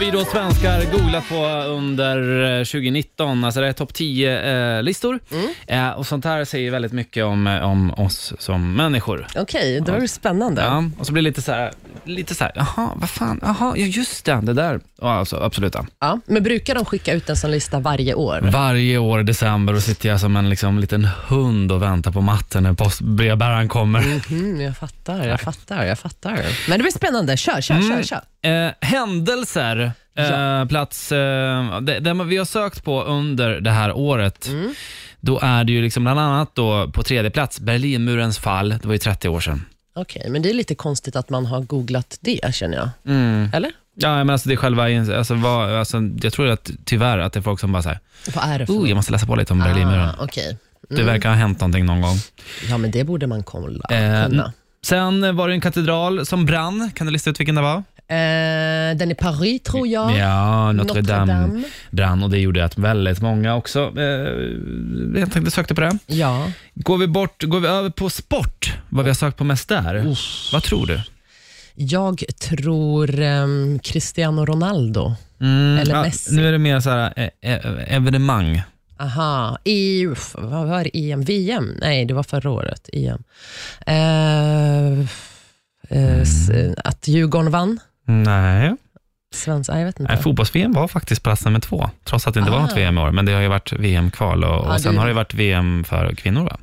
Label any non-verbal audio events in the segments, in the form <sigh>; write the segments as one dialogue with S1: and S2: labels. S1: vi då svenskar googlat på under eh, 2019, alltså det är topp 10-listor. Eh, och sånt här säger väldigt mycket om, eh, om oss som människor.
S2: Okej, det var ju spännande.
S1: Ja, och så blir det lite så här, lite så här, jaha, vad fan, jaha, ja just det, det där. Ja, alltså, absolut. Ja.
S2: Ja, men brukar de skicka ut en sån lista varje
S1: Mm.
S2: år?
S1: Varje år i december och sitter jag som en liksom, liten hund och väntar på matten när postbrevbäraren kommer.
S2: Mm, jag fattar, jag fattar, jag fattar. Men det blir spännande. Kör, kör, kör. kör.
S1: Eh, händelser, eh, plats, eh, det, det vi har sökt på under det här året. Då är det ju liksom bland annat då på tredje plats Berlinmurens fall, det var ju 30 år sedan.
S2: Okej, men det är lite konstigt att man har googlat det, känner jag.
S1: Mm.
S2: Eller?
S1: Ja, men alltså det är själva, alltså, vad, alltså, jag tror att tyvärr att det är folk som bara säger,
S2: Vad är det för
S1: oh, jag måste läsa på lite om Berlinmuren.
S2: Ah, Okej.
S1: Det verkar ha hänt någonting någon gång.
S2: Ja, men det borde man kolla.
S1: Eh,
S2: kunna.
S1: Sen var det en katedral som brann, kan du lista ut vilken det var?
S2: Eh, den i Paris, tror jag.
S1: Ja, Notre
S2: Notre
S1: Dame,
S2: Dame.
S1: brann och det gjorde att väldigt många också eh, helt enkelt sökte på det.
S2: Ja.
S1: Går vi, bort, går vi över på sport, vad vi har sökt på mest där? Vad tror du?
S2: Jag tror ehm, Cristiano Ronaldo.
S1: Mm,
S2: Eller
S1: ja,
S2: Messi.
S1: nu är det mer så här, eh, eh, evenemang.
S2: Aha, EU, f- vad var det? EM? VM? Nej, det var förra året. EM. Eh, f- eh, s- att Djurgården vann?
S1: Nej,
S2: Svensk, nej, jag vet inte.
S1: Nej fotbolls-VM var faktiskt plats nummer två, trots att det inte var
S2: Ah.
S1: något VM i år. Men det har ju varit VM-kval och, och
S2: Ja,
S1: sen
S2: du-
S1: har det varit VM för kvinnor va?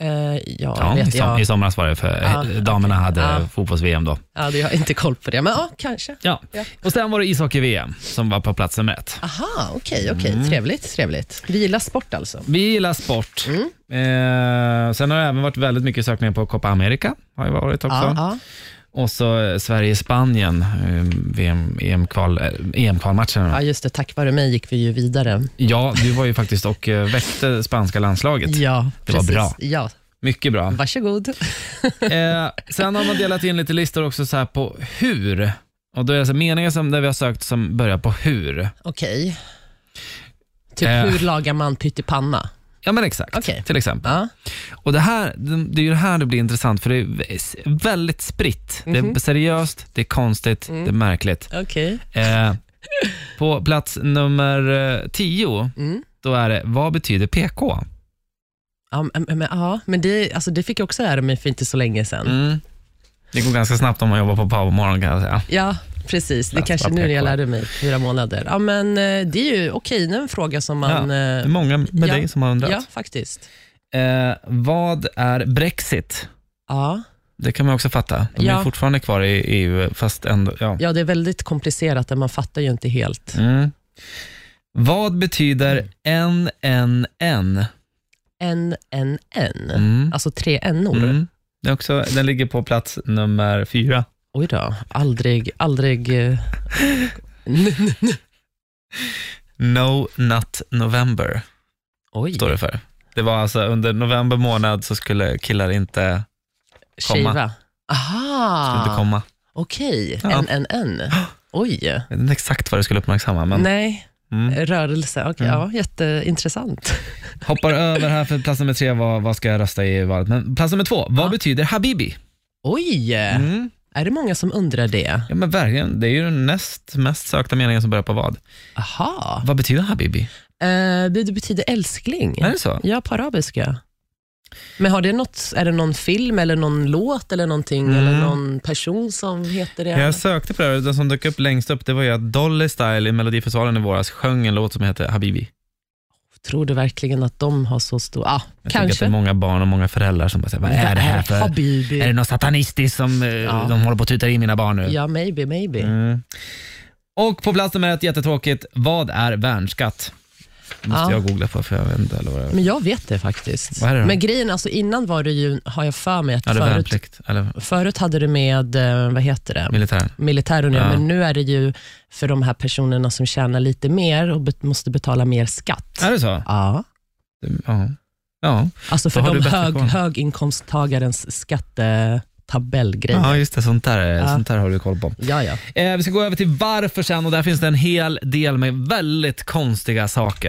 S2: Eh, ja,
S1: Ja, i,
S2: vet
S1: som,
S2: jag.
S1: I somras var det för
S2: Ja,
S1: eh, damerna hade
S2: Ja.
S1: fotbolls-VM då.
S2: Ja, det, jag har inte koll på det, men ja, kanske.
S1: Ja.
S2: Ja.
S1: Och sen var det ishockey-VM som var på plats nummer ett.
S2: Aha, okej, okej.
S1: Mm.
S2: Trevligt, trevligt. Du gillar sport alltså?
S1: Vi gillar sport.
S2: Mm.
S1: Eh, sen har det även varit väldigt mycket sökningar på Copa America. Har ju varit också.
S2: Ja, ja.
S1: Och så eh, Sverige-Spanien, eh, VM, EM-kval, eh, EM-kvalmatchen.
S2: ja, just det. Tack vare mig gick vi ju vidare.
S1: Ja, du var ju faktiskt och eh, väckte spanska landslaget.
S2: Ja,
S1: Det var
S2: precis.
S1: bra.
S2: Ja,
S1: Mycket bra.
S2: varsågod.
S1: Eh, sen har man delat in lite listor också så här på hur. Och då är det alltså meningar som, där vi har sökt som börjar på hur.
S2: Okej. Typ,
S1: Eh.
S2: hur lagar man pyttipanna?
S1: Ja men exakt,
S2: Okej.
S1: till exempel.
S2: Ja.
S1: Och det, här, det är ju det här det blir intressant för det är väldigt spritt.
S2: Mhm.
S1: Det är seriöst, det är konstigt,
S2: Mm.
S1: det är märkligt.
S2: Okej.
S1: Eh, på plats nummer eh, 10,
S2: Mm.
S1: då är det vad betyder PK?
S2: Ja, men- men, ja, men det, alltså, det fick jag också lära mig för inte så länge sedan.
S1: Mm. Det går ganska snabbt om man jobbar på Powermorgon kan jag säga.
S2: Ja, precis. Det
S1: Läs
S2: kanske
S1: vad
S2: nu när jag
S1: PK är.
S2: lärde mig, fyra månader. Ja, men eh, det är ju okej, det är en fråga som man...
S1: ja. Det är
S2: Ja,
S1: många med
S2: ja.
S1: dig som har undrat.
S2: ja faktiskt.
S1: Eh, vad är Brexit?
S2: Ja.
S1: Det kan man också fatta. De är
S2: Ja.
S1: fortfarande kvar i EU, fast ändå... Ja.
S2: ja, det är väldigt komplicerat, men man fattar ju inte helt.
S1: Mm. Vad betyder NNN?
S2: En, en, en.
S1: Mm.
S2: Alltså tre n-or.
S1: Mm. Det är också, den ligger på plats nummer fyra.
S2: Oj då, aldrig, aldrig... eh,
S1: No Nut November
S2: Oj,
S1: står det för. Det var alltså under november månad så skulle killar inte, komma.
S2: skiva.
S1: skulle inte
S2: Aha,
S1: komma.
S2: okej.
S1: Ja.
S2: En, en,
S1: <gasps>
S2: en. Oj.
S1: Jag vet inte exakt vad det skulle uppmärksamma, men
S2: Nej,
S1: mm.
S2: rörelse. Okej, ja, jätteintressant.
S1: hoppar över här för plats nummer tre var vad ska jag rösta i valet. Men plats nummer två, vad
S2: Ja. Äh.
S1: betyder Habibi?
S2: Oj,
S1: Mm.
S2: är det många som undrar det?
S1: Ja men verkligen, det är ju den näst mest sökta meningen som börjar på vad.
S2: Aha.
S1: Vad betyder Habibi?
S2: Eh, det betyder älskling.
S1: Är det så?
S2: Ja, på arabiska. Men har det något, är det någon film eller någon låt eller någonting
S1: Mm.
S2: eller någon person som heter det?
S1: Jag sökte på det här och det som dök upp längst upp det var ju att Dolly Style i Melodifestivalen i våras sjöng en låt som heter Habibi.
S2: Tror du verkligen att de har så stor... Ah,
S1: Jag tänker att det
S2: kanske.
S1: är många barn och många föräldrar som bara säger, vad är det här för?
S2: Habibi.
S1: Är det något satanistiskt som eh, de håller på att tuta i mina barn nu?
S2: Ja, maybe, maybe.
S1: Mm. Och på plats nummer ett, jättetråkigt, vad är värnskatt? Det måste
S2: Ja.
S1: jag googla på för jag vet inte. Eller vad det är.
S2: Men jag vet det faktiskt.
S1: Vad är det då?
S2: Men grejen, alltså innan var det ju, har jag för mig att
S1: Ja, det är
S2: förut,
S1: värnplikt, eller
S2: förut hade det med, eh, vad heter det?
S1: militär.
S2: militärunion,
S1: Ja.
S2: men nu är det ju för de här personerna som tjänar lite mer och bet- måste betala mer skatt.
S1: Är det så?
S2: Ja.
S1: Ja. ja.
S2: Alltså för
S1: Då har
S2: de
S1: du bättre
S2: hög,
S1: koll.
S2: höginkomsttagarens skattetabellgrej. Ja.
S1: Ja, just det. Sånt där,
S2: Ja.
S1: sånt där har du koll på.
S2: ja, ja.
S1: Eh, vi ska gå över till varför sen och där finns det en hel del med väldigt konstiga saker.